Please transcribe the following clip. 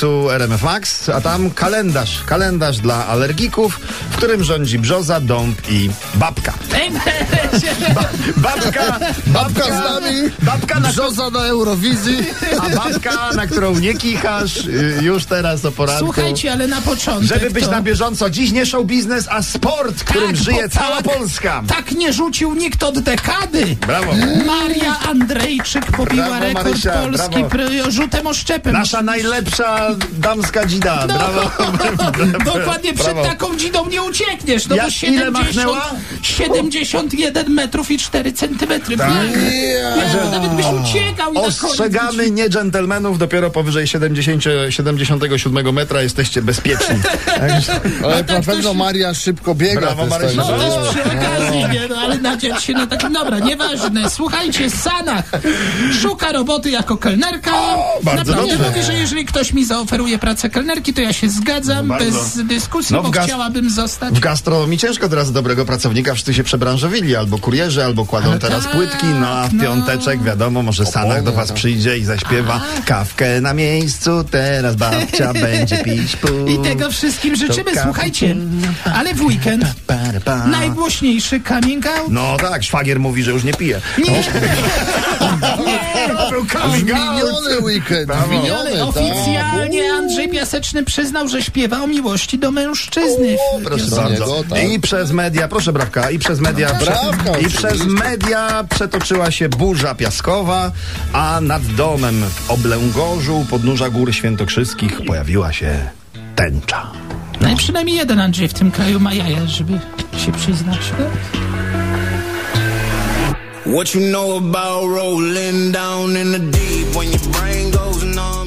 Tu RMF Max, a tam kalendarz. Kalendarz dla alergików, w którym rządzi brzoza, dąb i babka. Babka, babka z nami. Babka, na, Brzoza na Eurowizji. a babka, na którą nie kichasz y, już teraz o poranku. Słuchajcie, ale na początek. Żeby być to... na bieżąco, dziś nie show biznes, a sport, którym Tak, żyje bo cała tak, Polska. Tak nie rzucił nikt od dekady. Brawo. Maria Andrejczyk pobiła Brawo, rekord Marysia, polski brawo. pr- rzutem oszczepem. Nasza najlepsza damska dzida. No, Brawo. Dokładnie przed Brawo. taką dzidą nie uciekniesz. No Ja- bo ile 70, machnęła? 71 metrów i 4 centymetry. Nie, nie, bo nawet byś uciekał i na koniec Tak. Ostrzegamy nie dżentelmenów, dopiero powyżej 70, 77 metra jesteście bezpieczni. Ale tak na ktoś- pewno Maria szybko biega. Brawo, to jest Marysia. No tak, że- też przy okazji, nie, no, ale nadziać się na takim, dobra, nieważne. Słuchajcie, Sanach szuka roboty jako kelnerka. bardzo Naprawdę dobrze. mówię, że jeżeli ktoś mi zaoferuje pracę kelnerki, to ja się zgadzam, No, bardzo. bez dyskusji, No, w bo gaz- chciałabym zostać. W gastronomii ciężko teraz dobrego pracownika, wszyscy się przebranżowili, albo kurierzy, albo kładą teraz tak, płytki, no a w no. piąteczek wiadomo, może Sanach do was przyjdzie i zaśpiewa kawkę na miejscu, teraz babcia będzie pić pół. I tego wszystkim życzymy, kawka. słuchajcie. Ale w weekend Para, pa. najgłośniejszy coming out. No tak, szwagier mówi, że już nie pije. Nie, To był W coming out. Miniony weekend. w Miniony, ale tak. oficjalnie Andrzej Piaseczny przyznał, że śpiewa o miłości do mężczyzny. Proszę Do bardzo. niego, tak. No, I przez media, proszę brawka, i przez media. Brawka, prze, I oczywiście. przez media przetoczyła się burza piaskowa, a nad domem w Oblęgorzu u podnóża gór świętokrzyskich pojawiła się tęcza. No i przynajmniej jeden Andrzej w tym kraju ma jaja, żeby się przyznać. tak? What you know about rolling down in the deep when your brain goes numb.